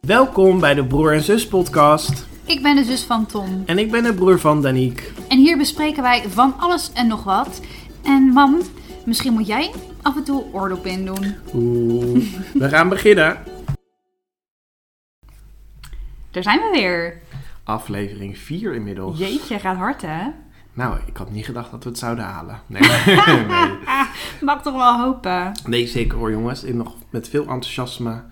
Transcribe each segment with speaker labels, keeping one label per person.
Speaker 1: Welkom bij de Broer en Zus podcast.
Speaker 2: Ik ben de zus van Tom
Speaker 1: En ik ben de broer van Daniek.
Speaker 2: en hier bespreken wij van alles en nog wat. En mam, misschien moet jij af en toe oordop in doen.
Speaker 1: Oeh, we gaan beginnen.
Speaker 2: Daar zijn we weer.
Speaker 1: Aflevering 4 inmiddels.
Speaker 2: Jeetje, gaat hard hè?
Speaker 1: Nou, ik had niet gedacht dat we het zouden halen. Nee, nee.
Speaker 2: Mag toch wel hopen.
Speaker 1: nee zeker hoor jongens. En nog met veel enthousiasme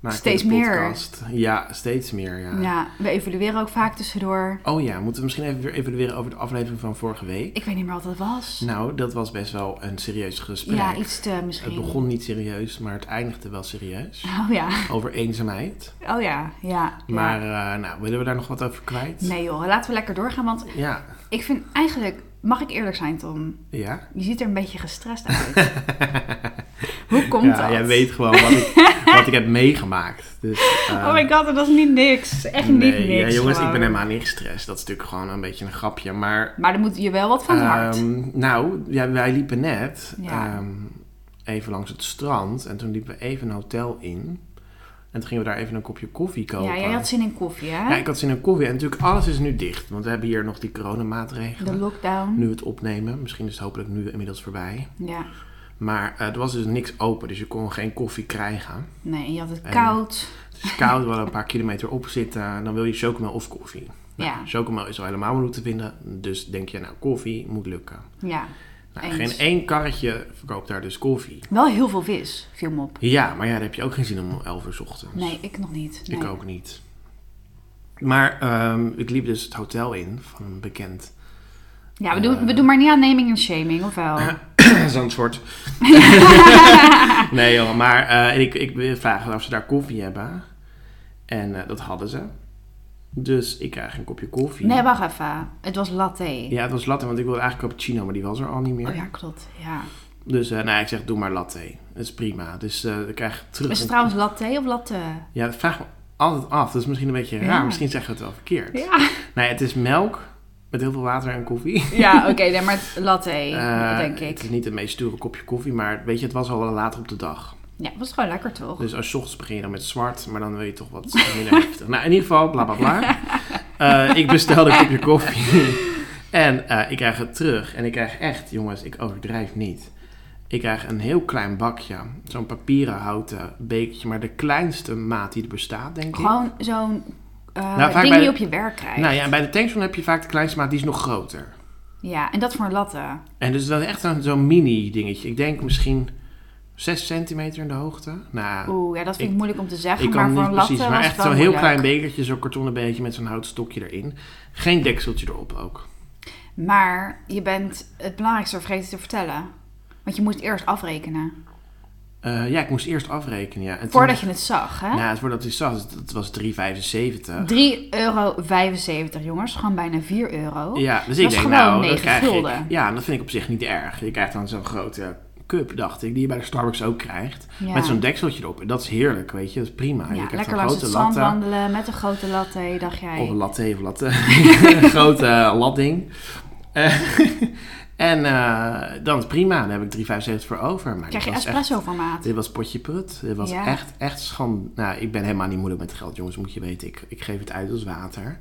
Speaker 1: maak ik
Speaker 2: Steeds
Speaker 1: de
Speaker 2: meer.
Speaker 1: podcast. Ja, steeds meer ja.
Speaker 2: Ja, we evalueren ook vaak tussendoor.
Speaker 1: Oh ja, moeten we misschien even weer evalueren over de aflevering van vorige week?
Speaker 2: Ik weet niet meer wat het was.
Speaker 1: Nou, dat was best wel een serieus gesprek.
Speaker 2: ja, iets te
Speaker 1: Het
Speaker 2: misschien.
Speaker 1: begon niet serieus, maar het eindigde wel serieus.
Speaker 2: Oh ja,
Speaker 1: Over eenzaamheid.
Speaker 2: oh ja, ja.
Speaker 1: Maar eh, nou, willen we daar nog wat over kwijt?
Speaker 2: Nee joh, laten we lekker doorgaan, want
Speaker 1: Ja,
Speaker 2: ik vind eigenlijk... Mag ik eerlijk zijn, Tom?
Speaker 1: ja.
Speaker 2: Je ziet er een beetje gestrest uit. Hoe komt
Speaker 1: ja,
Speaker 2: dat?
Speaker 1: jij weet gewoon wat ik, wat ik heb meegemaakt. Dus, eh,
Speaker 2: Oh my god, dat is niet niks. Echt
Speaker 1: nee,
Speaker 2: niet niks.
Speaker 1: Ja, jongens, ik
Speaker 2: gewoon.
Speaker 1: ben helemaal niet gestrest. Dat is natuurlijk gewoon een beetje een grapje. Maar,
Speaker 2: Maar dan moet je wel wat van het hart.
Speaker 1: ehm, nou, ja, wij liepen net
Speaker 2: Ja.
Speaker 1: ehm, even langs het strand. En toen liepen we even een hotel in. En toen gingen we daar even een kopje koffie kopen.
Speaker 2: Ja, jij had zin in koffie, hè?
Speaker 1: Ja, ik had zin in koffie. En natuurlijk, alles is nu dicht. Want we hebben hier nog die coronamaatregelen.
Speaker 2: De lockdown.
Speaker 1: Nu het opnemen. Misschien is het hopelijk nu inmiddels voorbij.
Speaker 2: Ja.
Speaker 1: Maar eh, er was dus niks open. Dus je kon geen koffie krijgen.
Speaker 2: Nee, je had het
Speaker 1: En-
Speaker 2: koud.
Speaker 1: Het is koud, wel een paar kilometer op zitten. Dan wil je chocomel of koffie. Nou,
Speaker 2: Ja.
Speaker 1: Chocomel is al helemaal moeilijk te vinden. Dus denk je, nou, koffie moet lukken.
Speaker 2: Ja.
Speaker 1: Nou,
Speaker 2: Eens.
Speaker 1: geen één karretje verkoopt daar dus koffie.
Speaker 2: Wel heel veel vis, viel me op.
Speaker 1: Ja, maar ja, daar heb je ook geen zin om om 11 uur 's ochtends.
Speaker 2: Nee, ik nog niet.
Speaker 1: Ik
Speaker 2: Nee.
Speaker 1: ook niet. Maar ehm, ik liep dus het hotel in van een bekend
Speaker 2: Ja, we
Speaker 1: Eh.
Speaker 2: doen, we doen maar niet aan naming en shaming, of wel?
Speaker 1: zo'n soort. nee joh, maar eh, ik, ik wil vragen of ze daar koffie hebben. En eh, dat hadden ze. Dus ik krijg een kopje koffie.
Speaker 2: Nee, wacht even. Het was latte.
Speaker 1: Ja, het was latte, want ik wilde eigenlijk cappuccino, maar die was er al niet meer.
Speaker 2: Oh ja, klopt. Ja.
Speaker 1: Dus eh, nou, ik zeg, doe maar latte. Dat is prima. Dus eh ik krijg terug...
Speaker 2: Is het trouwens latte of latte?
Speaker 1: Ja, dat vraag ik me altijd af. Dat is misschien een beetje raar.
Speaker 2: Ja.
Speaker 1: Misschien zeggen we het wel verkeerd.
Speaker 2: Ja.
Speaker 1: Nee, het is melk met heel veel water en koffie.
Speaker 2: Ja, oké, nee, maar het- latte,
Speaker 1: Eh,
Speaker 2: denk ik.
Speaker 1: Het is niet het meest sture kopje koffie, maar weet je, het was al wel laat op de dag.
Speaker 2: Ja, het was gewoon lekker, toch?
Speaker 1: Dus als je ochtends begin je dan met zwart, maar dan wil je toch wat minder heftig. Nou, in ieder geval, bla bla bla. Eh, ik bestelde een kopje koffie. En eh, ik krijg het terug. En ik krijg echt, jongens, ik overdrijf niet. Ik krijg een heel klein bakje. Zo'n papieren houten bekertje. Maar de kleinste maat die er bestaat, denk ik.
Speaker 2: Gewoon zo'n eh,
Speaker 1: Nou, vaak
Speaker 2: ding
Speaker 1: bij
Speaker 2: die
Speaker 1: de-
Speaker 2: je op je werk krijgt.
Speaker 1: Nou ja, en bij de tankstation heb je vaak de kleinste maat, die is nog groter.
Speaker 2: Ja, en dat voor een latte.
Speaker 1: En dus dat is echt zo'n zo'n mini dingetje. Ik denk misschien 6 centimeter in de hoogte. Nou,
Speaker 2: Oeh, ja, dat vind ik,
Speaker 1: Ik-
Speaker 2: moeilijk om te zeggen,
Speaker 1: Ik kan
Speaker 2: maar
Speaker 1: het
Speaker 2: voor
Speaker 1: niet
Speaker 2: een latte
Speaker 1: precies,
Speaker 2: was
Speaker 1: maar echt
Speaker 2: het wel
Speaker 1: zo'n heel
Speaker 2: moeilijk.
Speaker 1: klein bekertje, zo'n kartonnen bekertje met zo'n houten stokje erin. Geen dekseltje erop ook.
Speaker 2: Maar je bent het belangrijkste vergeten te vertellen. Want je moest eerst afrekenen.
Speaker 1: Eh, ja, ik moest eerst afrekenen, ja. En
Speaker 2: Voordat je het zag, hè?
Speaker 1: toen, Ja, voordat ik zag, het- het was 3,75.
Speaker 2: 3,75 euro, jongens. Gewoon bijna 4 euro.
Speaker 1: Ja, dus
Speaker 2: Dat
Speaker 1: ik
Speaker 2: is
Speaker 1: denk,
Speaker 2: gewoon
Speaker 1: nou, dat
Speaker 2: 9
Speaker 1: krijg ik.
Speaker 2: gulden.
Speaker 1: Ja, en dat vind ik op zich niet erg. Je krijgt dan zo'n grote cup, dacht ik, die je bij de Starbucks ook krijgt.
Speaker 2: Ja.
Speaker 1: Met zo'n dekseltje erop. En dat is heerlijk, weet je. Dat is prima.
Speaker 2: Ja,
Speaker 1: je krijgt
Speaker 2: lekker
Speaker 1: een
Speaker 2: langs
Speaker 1: grote
Speaker 2: het zand
Speaker 1: latte.
Speaker 2: wandelen met een grote latte, dacht jij.
Speaker 1: Of een latte of latte. Een grote eh, latding. Eh, en eh, dan is prima. Dan heb ik 3,75 voor over. Maar
Speaker 2: Krijg je
Speaker 1: dit was
Speaker 2: espresso
Speaker 1: echt-
Speaker 2: formaat.
Speaker 1: dit was potje prut. Dit was
Speaker 2: Ja.
Speaker 1: echt, echt schand. Nou, ik ben helemaal niet moeilijk met geld, jongens. Moet je weten, ik, ik geef het uit als water.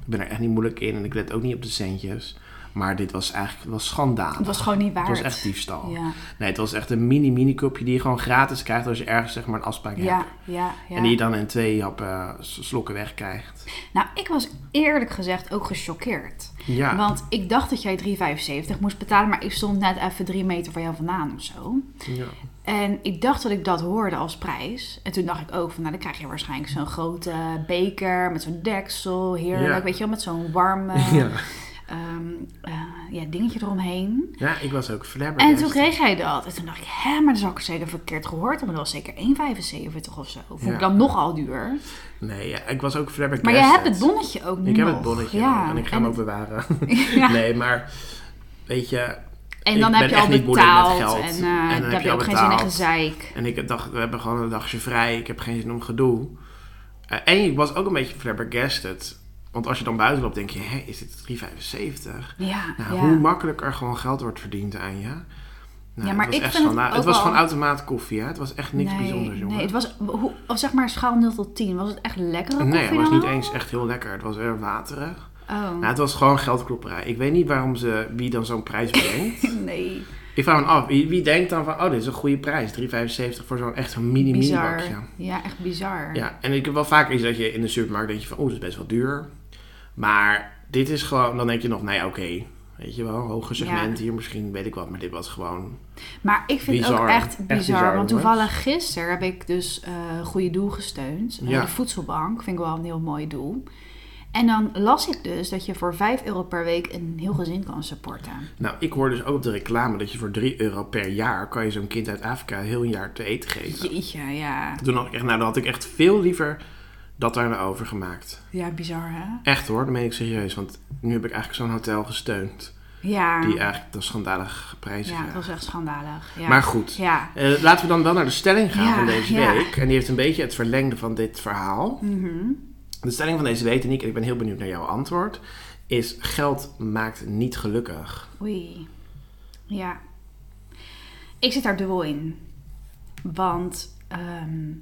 Speaker 1: Ik ben er echt niet moeilijk in en ik let ook niet op de centjes. Maar dit was eigenlijk was schandalig.
Speaker 2: Het was gewoon niet waard.
Speaker 1: Het was echt diefstal.
Speaker 2: Ja,
Speaker 1: Nee, het was echt een mini-mini kopje die je gewoon gratis krijgt als je ergens zeg maar een afspraak
Speaker 2: ja,
Speaker 1: hebt.
Speaker 2: ja. ja.
Speaker 1: En die je dan in twee happen eh, slokken wegkrijgt.
Speaker 2: Nou, ik was eerlijk gezegd ook gechoqueerd.
Speaker 1: Ja.
Speaker 2: Want ik dacht dat jij 3,75 moest betalen, maar ik stond net even 3 meter van jou vandaan of zo.
Speaker 1: ja.
Speaker 2: En ik dacht dat ik dat hoorde als prijs. En toen dacht ik ook van, nou dan krijg je waarschijnlijk zo'n grote beker met zo'n deksel, heerlijk,
Speaker 1: Ja.
Speaker 2: weet je wel, met zo'n warm
Speaker 1: Ja.
Speaker 2: ehm, eh, ja, dingetje eromheen.
Speaker 1: Ja, ik was ook
Speaker 2: En
Speaker 1: flabbergast.
Speaker 2: toen kreeg hij dat. En toen dacht ik, hè, maar dat zal ik zeker verkeerd gehoord hebben. Dat was zeker 1,75 of zo. Vond
Speaker 1: Ja.
Speaker 2: ik dan nogal duur.
Speaker 1: Nee, ja, ik was ook flabbergast.
Speaker 2: Maar jij hebt het bonnetje ook nog.
Speaker 1: Ik heb het bonnetje
Speaker 2: Ja.
Speaker 1: nog en ik ga hem ook bewaren.
Speaker 2: Ja.
Speaker 1: Nee, maar weet je...
Speaker 2: En dan
Speaker 1: ik ben
Speaker 2: heb je al
Speaker 1: echt niet moeilijk met
Speaker 2: betaald.
Speaker 1: geld. En
Speaker 2: En, eh,
Speaker 1: dan heb
Speaker 2: dan
Speaker 1: je
Speaker 2: heb je
Speaker 1: al
Speaker 2: ook geen zin in
Speaker 1: betaald.
Speaker 2: gezeik.
Speaker 1: En ik dacht, we hebben gewoon een dagje vrij. Ik heb geen zin om gedoe. Eh, en ik was ook een beetje flabbergasted. Want als je dan buiten loopt, denk je, hé, is dit 3,75?
Speaker 2: Ja,
Speaker 1: Nou,
Speaker 2: ja.
Speaker 1: hoe makkelijk er gewoon geld wordt verdiend aan je. Nou,
Speaker 2: Ja, maar
Speaker 1: het was echt
Speaker 2: ik
Speaker 1: van,
Speaker 2: vind het
Speaker 1: nou,
Speaker 2: ook
Speaker 1: was
Speaker 2: wel-
Speaker 1: gewoon automaat koffie, hè? Het was echt niks
Speaker 2: nee,
Speaker 1: bijzonders, jongen.
Speaker 2: Nee, het was, hoe, of zeg maar schaal 0 tot 10. Was het echt lekkere koffie
Speaker 1: Nee, het was
Speaker 2: dan
Speaker 1: niet
Speaker 2: wel?
Speaker 1: eens echt heel lekker. Het was weer waterig.
Speaker 2: Oh,
Speaker 1: Nou, het was gewoon geldklopperij. Ik weet niet waarom ze, wie dan zo'n prijs bedenkt.
Speaker 2: nee.
Speaker 1: ik vraag me af, wie, wie denkt dan van, oh, dit is een goede prijs. 3,75 voor zo'n echt zo'n mini-mini
Speaker 2: Bizar.
Speaker 1: bakje.
Speaker 2: Ja, echt bizar.
Speaker 1: Ja, en ik heb wel vaker iets dat je in de supermarkt denk je van, oeh, dat is best wel duur. Maar dit is gewoon, dan denk je nog, nou ja, oké. Weet je wel, hoger segment hier misschien, weet ik wat. Maar dit was gewoon...
Speaker 2: Maar ik vind het ook
Speaker 1: Bizar.
Speaker 2: echt
Speaker 1: Echt
Speaker 2: bizar.
Speaker 1: bizar,
Speaker 2: want
Speaker 1: jongens.
Speaker 2: toevallig gisteren heb ik dus eh Goede Doel gesteund. Eh,
Speaker 1: Ja.
Speaker 2: De voedselbank vind ik wel een heel mooi doel. En dan las ik dus dat je voor 5 euro per week een heel gezin kan supporten.
Speaker 1: Nou, ik hoor dus ook op de reclame dat je voor 3 euro per jaar... kan je zo'n kind uit Afrika heel een jaar te eten geven.
Speaker 2: Jeetje, ja.
Speaker 1: Toen had ik echt, nou, dan had ik echt veel liever dat daar naar overgemaakt.
Speaker 2: Ja, bizar hè?
Speaker 1: Echt hoor, dat meen ik serieus. Want nu heb ik eigenlijk zo'n hotel gesteund.
Speaker 2: Ja.
Speaker 1: Die eigenlijk de schandalige prijzen
Speaker 2: ja, dat
Speaker 1: vraagt.
Speaker 2: was echt schandalig. Ja.
Speaker 1: Maar goed.
Speaker 2: Ja.
Speaker 1: Eh, laten we dan wel naar de stelling gaan
Speaker 2: Ja,
Speaker 1: van deze
Speaker 2: ja.
Speaker 1: week. En die heeft een beetje het verlengde van dit verhaal.
Speaker 2: Mhm.
Speaker 1: De stelling van deze week, en ik ben heel benieuwd naar jouw antwoord, is geld maakt niet gelukkig.
Speaker 2: Oei. Ja. Ik zit daar dubbel in. Want ehm,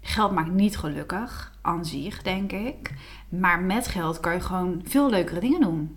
Speaker 2: geld maakt niet gelukkig, aan zich, denk ik. Maar met geld kan je gewoon veel leukere dingen doen.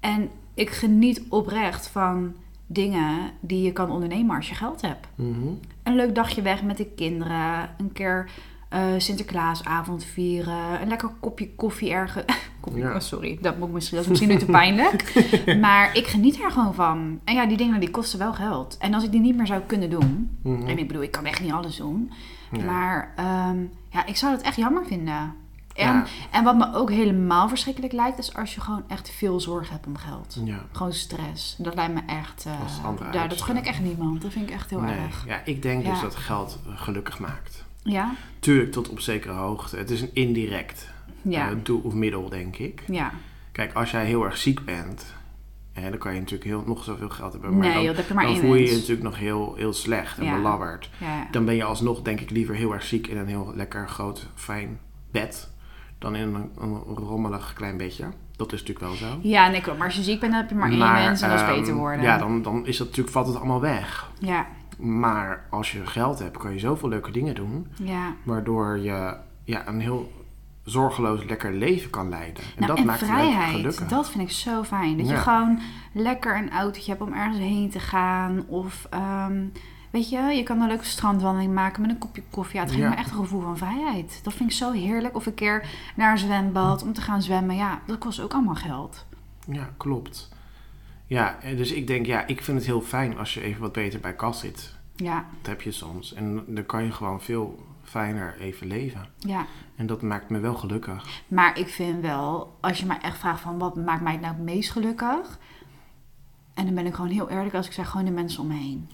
Speaker 2: En ik geniet oprecht van dingen die je kan ondernemen als je geld hebt.
Speaker 1: Mhm.
Speaker 2: Een leuk dagje weg met de kinderen. Een keer eh, Sinterklaasavond vieren. Een lekker kopje koffie ergens. Koffie,
Speaker 1: Ja.
Speaker 2: oh, sorry, dat, moet ik misschien, dat is misschien nu te pijnlijk. maar ik geniet er gewoon van. En ja, die dingen die kosten wel geld. En als ik die niet meer zou kunnen doen.
Speaker 1: Mhm.
Speaker 2: En ik bedoel, ik kan echt niet alles doen.
Speaker 1: Nee.
Speaker 2: Maar ehm, ja, ik zou dat echt jammer vinden. En,
Speaker 1: Ja.
Speaker 2: en wat me ook helemaal verschrikkelijk lijkt, is als je gewoon echt veel zorg hebt om geld.
Speaker 1: Ja.
Speaker 2: Gewoon stress. Dat lijkt me echt. eh,
Speaker 1: Dat is een andere
Speaker 2: ja, dat gun
Speaker 1: uitspraak.
Speaker 2: ik echt niemand. Dat vind ik echt heel
Speaker 1: Nee.
Speaker 2: erg.
Speaker 1: Ja, ik denk dus
Speaker 2: Ja.
Speaker 1: dat geld eh, gelukkig maakt.
Speaker 2: Ja?
Speaker 1: Tuurlijk tot op zekere hoogte. Het is een indirect
Speaker 2: Ja.
Speaker 1: eh, doel of middel, denk ik.
Speaker 2: Ja,
Speaker 1: Kijk, als jij heel erg ziek bent, hè, dan kan je natuurlijk heel, nog zoveel geld hebben. Maar
Speaker 2: Nee,
Speaker 1: dan,
Speaker 2: joh, dat heb je maar
Speaker 1: dan
Speaker 2: één
Speaker 1: voel je je
Speaker 2: mens.
Speaker 1: natuurlijk nog heel, heel slecht en
Speaker 2: Ja.
Speaker 1: belabberd.
Speaker 2: ja,
Speaker 1: Dan ben je alsnog, denk ik, liever heel erg ziek in een heel lekker, groot, fijn bed. Dan in een, een rommelig klein bedje. Dat is natuurlijk wel zo.
Speaker 2: ja nee, klopt. Maar als je ziek bent, dan heb je maar één mens en dat is
Speaker 1: ehm,
Speaker 2: beter worden.
Speaker 1: Ja, dan, dan is dat natuurlijk, valt het allemaal weg.
Speaker 2: ja,
Speaker 1: Maar als je geld hebt, kan je zoveel leuke dingen doen.
Speaker 2: ja.
Speaker 1: Waardoor je ja, een heel zorgeloos lekker leven kan leiden. En
Speaker 2: Nou,
Speaker 1: dat
Speaker 2: en
Speaker 1: maakt het leuk
Speaker 2: vrijheid,
Speaker 1: gelukkig.
Speaker 2: dat vind ik zo fijn. Dat je
Speaker 1: Ja.
Speaker 2: gewoon lekker een autootje hebt om ergens heen te gaan. Of, ehm, weet je, je kan een leuke strandwandeling maken met een kopje koffie. Ja, het geeft
Speaker 1: Ja.
Speaker 2: me echt een gevoel van vrijheid. Dat vind ik zo heerlijk. Of een keer naar een zwembad om te gaan zwemmen. Ja, dat kost ook allemaal geld.
Speaker 1: Ja, klopt. Ja, eh, dus ik denk, ja, ik vind het heel fijn als je even wat beter bij kas zit.
Speaker 2: Ja,
Speaker 1: Dat heb je soms. En dan kan je gewoon veel fijner even leven.
Speaker 2: ja.
Speaker 1: En dat maakt me wel gelukkig.
Speaker 2: Maar ik vind wel, als je mij echt vraagt van wat maakt mij nou het meest gelukkig. En dan ben ik gewoon heel eerlijk als ik zeg gewoon de mensen om me heen.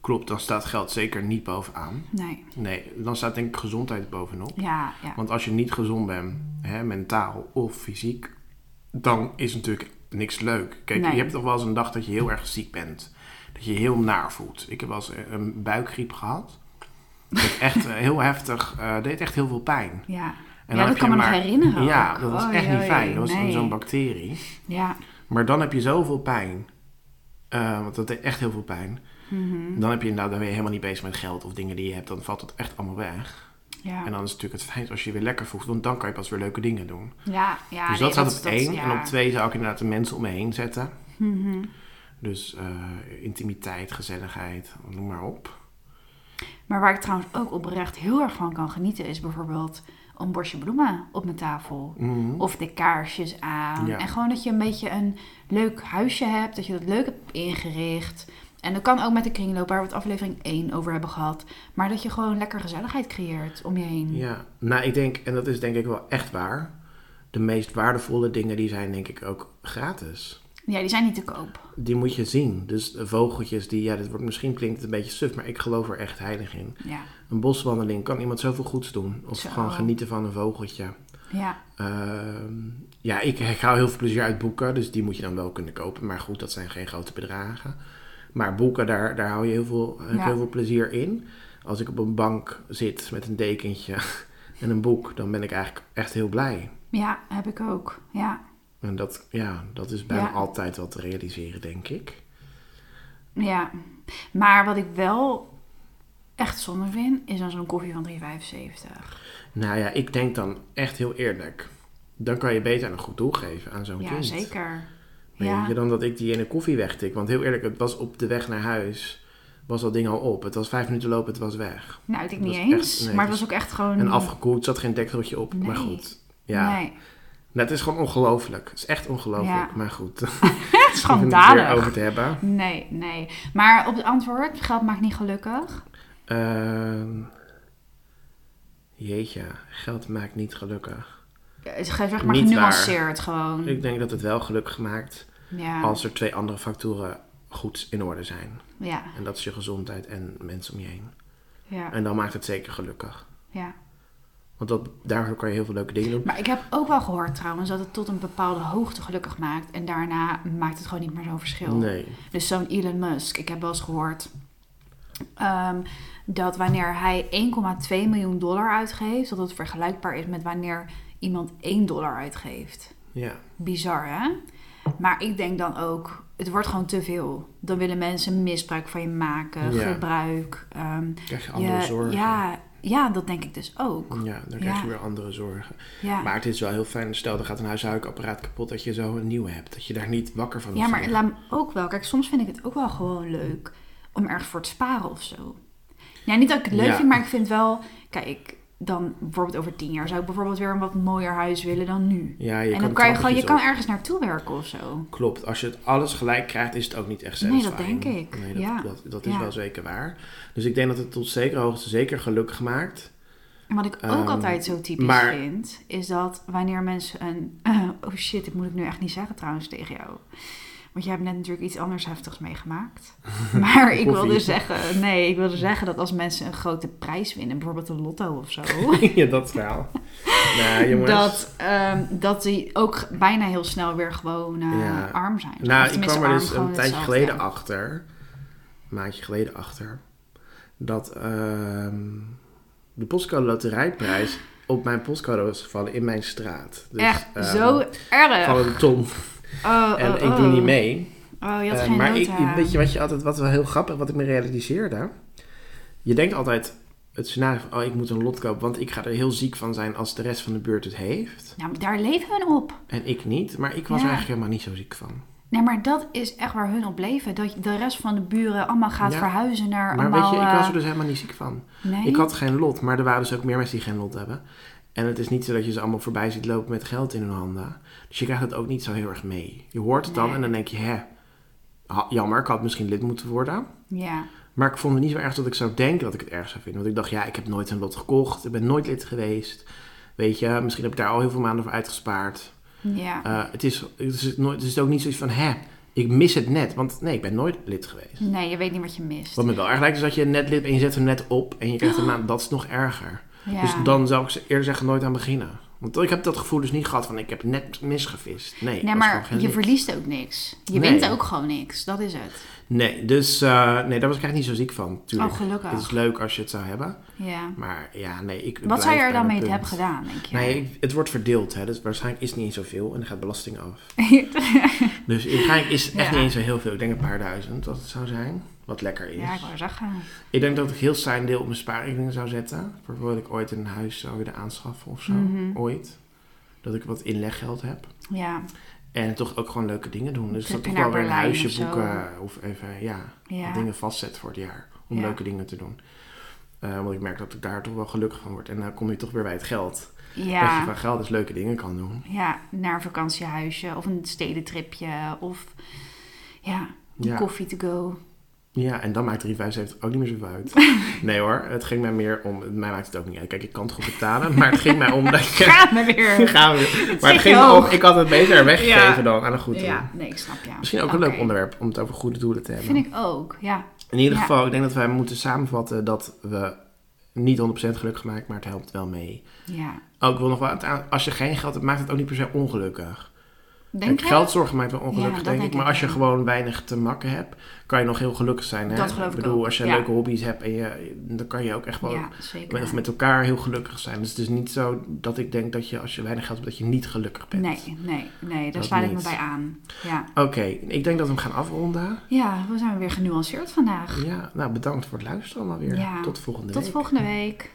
Speaker 1: Klopt, dan staat geld zeker niet bovenaan.
Speaker 2: Nee.
Speaker 1: Nee, dan staat denk ik gezondheid bovenop.
Speaker 2: Ja, ja.
Speaker 1: Want als je niet gezond bent, hè, mentaal of fysiek, dan is natuurlijk niks leuk. Kijk,
Speaker 2: Nee.
Speaker 1: je hebt toch wel eens een dag dat je heel erg ziek bent. Dat je je heel naar voelt. Ik heb wel eens een- een buikgriep gehad. Dat echt eh, heel heftig, eh, deed echt heel veel pijn.
Speaker 2: Ja,
Speaker 1: En dan
Speaker 2: ja
Speaker 1: heb
Speaker 2: dat
Speaker 1: je
Speaker 2: kan me nog
Speaker 1: maar-
Speaker 2: herinneren.
Speaker 1: Ja,
Speaker 2: ook.
Speaker 1: dat was
Speaker 2: Oei,
Speaker 1: echt niet
Speaker 2: oei,
Speaker 1: fijn. Dat was
Speaker 2: nee.
Speaker 1: zo'n bacterie.
Speaker 2: Ja,
Speaker 1: Maar dan heb je zoveel pijn. Eh, want dat deed echt heel veel pijn.
Speaker 2: Mhm.
Speaker 1: Dan, heb je, inderdaad dan ben je helemaal niet bezig met geld of dingen die je hebt. Dan valt het echt allemaal weg.
Speaker 2: ja.
Speaker 1: En dan is het natuurlijk het fijn als je je weer lekker voelt. Want dan kan je pas weer leuke dingen doen.
Speaker 2: ja, ja.
Speaker 1: dus
Speaker 2: nee,
Speaker 1: dat staat op één.
Speaker 2: ja.
Speaker 1: En op twee zou ik inderdaad de mensen om me heen zetten.
Speaker 2: Mhm.
Speaker 1: Dus eh, intimiteit, gezelligheid, noem maar op.
Speaker 2: Maar waar ik trouwens ook oprecht heel erg van kan genieten is bijvoorbeeld een bosje bloemen op mijn tafel.
Speaker 1: Mhm.
Speaker 2: Of de kaarsjes aan.
Speaker 1: Ja.
Speaker 2: En gewoon dat je een beetje een leuk huisje hebt. Dat je dat leuk hebt ingericht. En dat kan ook met de kringloop waar we het aflevering 1 over hebben gehad. Maar dat je gewoon lekker gezelligheid creëert om je heen.
Speaker 1: Ja, nou ik denk, en dat is denk ik wel echt waar. De meest waardevolle dingen die zijn denk ik ook gratis.
Speaker 2: Ja, die zijn niet te koop.
Speaker 1: Die moet je zien. Dus de vogeltjes die, ja, dit wordt, misschien klinkt het een beetje suf, maar ik geloof er echt heilig in.
Speaker 2: Ja,
Speaker 1: Een boswandeling kan iemand zoveel goeds doen. Of
Speaker 2: Zo.
Speaker 1: gewoon genieten van een vogeltje.
Speaker 2: ja,
Speaker 1: Ehm, ja, ik, ik hou heel veel plezier uit boeken, dus die moet je dan wel kunnen kopen. Maar goed, dat zijn geen grote bedragen. Maar boeken, daar, daar hou je heel veel, heb ik
Speaker 2: Ja.
Speaker 1: heel veel plezier in. Als ik op een bank zit met een dekentje en een boek, dan ben ik eigenlijk echt heel blij.
Speaker 2: ja, heb ik ook. Ja,
Speaker 1: En dat, ja, dat is bijna
Speaker 2: Ja.
Speaker 1: altijd wel te realiseren, denk ik.
Speaker 2: Ja, maar wat ik wel echt zonde vind, is dan zo'n koffie van 3,75.
Speaker 1: Nou ja, ik denk dan echt heel eerlijk. Dan kan je beter aan een goed doel geven aan zo'n
Speaker 2: Ja,
Speaker 1: kind.
Speaker 2: zeker.
Speaker 1: Maar
Speaker 2: Ja.
Speaker 1: je dan dat ik die in een koffie wegtik. Want heel eerlijk, het was op de weg naar huis. Was dat ding al op. Het was vijf minuten lopen, het was weg.
Speaker 2: Nou, ik denk
Speaker 1: Dat
Speaker 2: niet
Speaker 1: is echt-
Speaker 2: eens.
Speaker 1: nee,
Speaker 2: maar het
Speaker 1: dat
Speaker 2: was ook echt gewoon...
Speaker 1: En afgekoeld, zat geen dekseltje op.
Speaker 2: Nee.
Speaker 1: Maar goed. Ja.
Speaker 2: Nee,
Speaker 1: Nou, het is gewoon ongelooflijk. Het is echt ongelooflijk.
Speaker 2: Ja.
Speaker 1: Maar goed. daar hoeven we het weer
Speaker 2: schandalig.
Speaker 1: over te hebben.
Speaker 2: Nee, nee. Maar op het antwoord, geld maakt niet gelukkig.
Speaker 1: Ehm, jeetje, geld maakt niet gelukkig.
Speaker 2: Ja, Het is Eh, zeg maar
Speaker 1: Niet waar.
Speaker 2: genuanceerd gewoon.
Speaker 1: Ik denk dat het wel gelukkig maakt
Speaker 2: ja.
Speaker 1: als er twee andere factoren goed in orde zijn.
Speaker 2: ja,
Speaker 1: En dat is je gezondheid en mensen om je heen.
Speaker 2: ja,
Speaker 1: En dan maakt het zeker gelukkig.
Speaker 2: ja.
Speaker 1: Want dat, daardoor kan je heel veel leuke dingen doen.
Speaker 2: Maar ik heb ook wel gehoord trouwens dat het tot een bepaalde hoogte gelukkig maakt. En daarna maakt het gewoon niet meer zo'n verschil.
Speaker 1: Nee.
Speaker 2: Dus zo'n Elon Musk, ik heb wel eens gehoord ehm, dat wanneer hij 1,2 miljoen dollar uitgeeft, dat het vergelijkbaar is met wanneer iemand 1 dollar uitgeeft.
Speaker 1: Ja.
Speaker 2: Bizar, hè? Maar ik denk dan ook, het wordt gewoon te veel. Dan willen mensen misbruik van je maken,
Speaker 1: Ja.
Speaker 2: gebruik. ehm,
Speaker 1: Krijg je andere
Speaker 2: je-
Speaker 1: zorgen.
Speaker 2: Ja, ja, dat denk ik dus ook.
Speaker 1: Ja, dan krijg je
Speaker 2: Ja.
Speaker 1: weer andere zorgen.
Speaker 2: Ja,
Speaker 1: Maar het is wel heel fijn. Stel, er gaat een huishoudelijk apparaat kapot dat je zo een nieuwe hebt. Dat je daar niet wakker van
Speaker 2: ja
Speaker 1: hoeft te
Speaker 2: maar
Speaker 1: liggen.
Speaker 2: laat me ook wel. Kijk, soms vind ik het ook wel gewoon leuk om ergens voor te sparen of zo. Ja, niet dat ik het leuk
Speaker 1: Ja.
Speaker 2: vind, maar ik vind wel... Kijk, dan bijvoorbeeld over tien jaar zou ik bijvoorbeeld weer een wat mooier huis willen dan nu.
Speaker 1: Ja, je kan het
Speaker 2: en dan kan je
Speaker 1: trappetjes
Speaker 2: gewoon, je
Speaker 1: op.
Speaker 2: kan ergens naartoe werken of zo.
Speaker 1: Klopt, als je het alles gelijk krijgt, is het ook niet echt
Speaker 2: Nee, dat
Speaker 1: satisfying.
Speaker 2: denk ik.
Speaker 1: Nee, dat,
Speaker 2: Ja.
Speaker 1: dat, dat is
Speaker 2: Ja.
Speaker 1: wel zeker waar. Dus ik denk dat het tot zekere hoogte zeker gelukkig maakt.
Speaker 2: En wat ik ook
Speaker 1: Ehm,
Speaker 2: altijd zo typisch
Speaker 1: maar-
Speaker 2: vind, is dat wanneer mensen een... oh shit, dit moet ik nu echt niet zeggen trouwens tegen jou. Want jij hebt net natuurlijk iets anders heftigs meegemaakt. Maar ik wilde
Speaker 1: Koffie.
Speaker 2: zeggen, nee, ik wilde zeggen dat als mensen een grote prijs winnen, bijvoorbeeld een lotto of zo,
Speaker 1: ja, dat verhaal. nou, jongens.
Speaker 2: dat, ehm, dat die ook bijna heel snel weer gewoon eh,
Speaker 1: Ja.
Speaker 2: arm zijn.
Speaker 1: Nou,
Speaker 2: Of
Speaker 1: ik
Speaker 2: tenminste,
Speaker 1: kwam er
Speaker 2: arm
Speaker 1: dus
Speaker 2: gewoon
Speaker 1: een tijdje
Speaker 2: hetzelfde.
Speaker 1: geleden achter, een maandje geleden achter, dat ehm, de postcode loterijprijs op mijn postcode was gevallen in mijn straat. Dus,
Speaker 2: Echt
Speaker 1: ehm,
Speaker 2: zo erg.
Speaker 1: Van een ton.
Speaker 2: Oh,
Speaker 1: En
Speaker 2: oh,
Speaker 1: ik doe niet
Speaker 2: oh.
Speaker 1: mee.
Speaker 2: Oh, je had
Speaker 1: Eh,
Speaker 2: geen
Speaker 1: maar ik,
Speaker 2: nota.
Speaker 1: weet je wat je altijd, wat wel heel grappig, wat ik me realiseerde? Je denkt altijd het scenario van, oh, ik moet een lot kopen, want ik ga er heel ziek van zijn als de rest van de buurt het heeft.
Speaker 2: Nou, maar daar leven hun op.
Speaker 1: En ik niet, maar ik was
Speaker 2: Ja.
Speaker 1: er eigenlijk helemaal niet zo ziek van.
Speaker 2: Nee, maar dat is echt waar hun op leven. Dat de rest van de buren allemaal gaat
Speaker 1: Ja.
Speaker 2: verhuizen naar
Speaker 1: Maar
Speaker 2: allemaal...
Speaker 1: weet je, ik was
Speaker 2: eh,
Speaker 1: er dus helemaal niet ziek van.
Speaker 2: nee?
Speaker 1: Ik had geen lot, maar er waren dus ook meer mensen die geen lot hebben. En het is niet zo dat je ze allemaal voorbij ziet lopen met geld in hun handen. Dus je krijgt het ook niet zo heel erg mee. Je hoort het dan
Speaker 2: Nee.
Speaker 1: en dan denk je, hè, ha- jammer, ik had misschien lid moeten worden.
Speaker 2: Ja,
Speaker 1: Maar ik vond het niet zo erg dat ik zou denken dat ik het erg zou vinden. Want ik dacht, ja, ik heb nooit een lot gekocht. Ik ben nooit lid geweest. Weet je, misschien heb ik daar al heel veel maanden voor uitgespaard.
Speaker 2: ja,
Speaker 1: Eh, het, is, het, is nooit, het is ook niet zoiets van, hè, ik mis het net. Want nee, ik ben nooit lid geweest.
Speaker 2: nee, je weet niet wat je mist.
Speaker 1: Wat me wel erg lijkt is dat je net lid bent en je zet hem net op. En je krijgt een maand, dat is nog erger.
Speaker 2: Ja.
Speaker 1: Dus dan zou ik ze eerder zeggen, nooit aan beginnen. Want ik heb dat gevoel dus niet gehad van, ik heb net misgevist. Nee, ik
Speaker 2: nee,
Speaker 1: was gewoon
Speaker 2: maar
Speaker 1: geen
Speaker 2: je
Speaker 1: lid.
Speaker 2: verliest ook niks. Je
Speaker 1: Nee.
Speaker 2: wint ook gewoon niks. Dat is het.
Speaker 1: Nee, dus eh, nee, daar was ik eigenlijk niet zo ziek van. Tuurlijk,
Speaker 2: Oh, gelukkig.
Speaker 1: het is leuk als je het zou hebben.
Speaker 2: Ja.
Speaker 1: Maar ja, nee, ik
Speaker 2: Wat zou je er dan mee
Speaker 1: te
Speaker 2: hebben gedaan, denk je?
Speaker 1: Nee, ik- het wordt verdeeld, hè, dus waarschijnlijk is het niet eens zoveel en dan gaat belasting af. Dus waarschijnlijk is het echt
Speaker 2: Ja.
Speaker 1: niet eens zo heel veel. Ik denk een paar duizend dat het zou zijn, wat lekker is.
Speaker 2: ja, ik wou zeggen.
Speaker 1: Ik denk dat ik heel saai een deel op mijn spaarrekening zou zetten. Bijvoorbeeld ik ooit een huis zou willen aanschaffen of zo,
Speaker 2: Mhm.
Speaker 1: ooit. Dat ik wat inleggeld heb.
Speaker 2: Ja,
Speaker 1: En toch ook gewoon leuke dingen doen. Dus dat
Speaker 2: Tripje
Speaker 1: ik wel
Speaker 2: naar
Speaker 1: weer een
Speaker 2: Berlijn
Speaker 1: huisje
Speaker 2: of zo.
Speaker 1: boeken of even, ja,
Speaker 2: ja.
Speaker 1: dingen vastzet voor het jaar. Om
Speaker 2: Ja.
Speaker 1: leuke dingen te doen. Eh, want ik merk dat ik daar toch wel gelukkig van word. En dan kom je toch weer bij het geld. Dat je
Speaker 2: Ja.
Speaker 1: van geld dus leuke dingen kan doen.
Speaker 2: ja, naar een vakantiehuisje of een stedentripje of ja,
Speaker 1: Ja.
Speaker 2: koffie to go.
Speaker 1: Ja, en dan maakt 3,75 ook niet meer zoveel uit. Nee hoor, het ging mij meer om... Mij maakt het ook niet uit. Kijk, ik kan het goed betalen, maar het ging mij om dat je...
Speaker 2: Gaan we weer.
Speaker 1: Gaan we. Maar
Speaker 2: zit
Speaker 1: het ging me om,
Speaker 2: hoog.
Speaker 1: ik had het beter weggegeven
Speaker 2: Ja.
Speaker 1: dan aan een goed doel.
Speaker 2: Ja, nee, ik snap jou.
Speaker 1: Misschien ook een leuk
Speaker 2: Oké.
Speaker 1: onderwerp om het over goede doelen te hebben.
Speaker 2: Vind ik ook, ja.
Speaker 1: In ieder
Speaker 2: Ja.
Speaker 1: geval, ik denk dat wij moeten samenvatten dat we niet 100% gelukkig maken, maar het helpt wel mee.
Speaker 2: Ja,
Speaker 1: Ook wil nog wel, als je geen geld hebt, maakt het ook niet per se ongelukkig.
Speaker 2: Denk
Speaker 1: Kijk,
Speaker 2: je?
Speaker 1: geld zorgen maakt wel ongelukkig,
Speaker 2: dat
Speaker 1: denk,
Speaker 2: denk
Speaker 1: ik. Maar
Speaker 2: ik
Speaker 1: als je
Speaker 2: wel.
Speaker 1: gewoon weinig te makken hebt, kan je nog heel gelukkig zijn. Hè?
Speaker 2: Dat geloof ik
Speaker 1: bedoel,
Speaker 2: ook,
Speaker 1: als je
Speaker 2: ja.
Speaker 1: leuke hobby's hebt, en je, dan kan je ook echt wel
Speaker 2: Ja,
Speaker 1: met,
Speaker 2: zeker.
Speaker 1: of met elkaar heel gelukkig zijn. Dus het is niet zo dat ik denk dat je als je weinig geld hebt, dat je niet gelukkig bent.
Speaker 2: Nee, nee, nee, daar
Speaker 1: Dat
Speaker 2: sluit ik me
Speaker 1: niet.
Speaker 2: bij aan. Ja.
Speaker 1: Oké, ik denk dat we hem gaan afronden.
Speaker 2: ja, we zijn weer genuanceerd vandaag.
Speaker 1: Ja, nou bedankt voor het luisteren allemaal weer.
Speaker 2: Ja.
Speaker 1: Tot volgende
Speaker 2: Tot
Speaker 1: week.
Speaker 2: volgende week.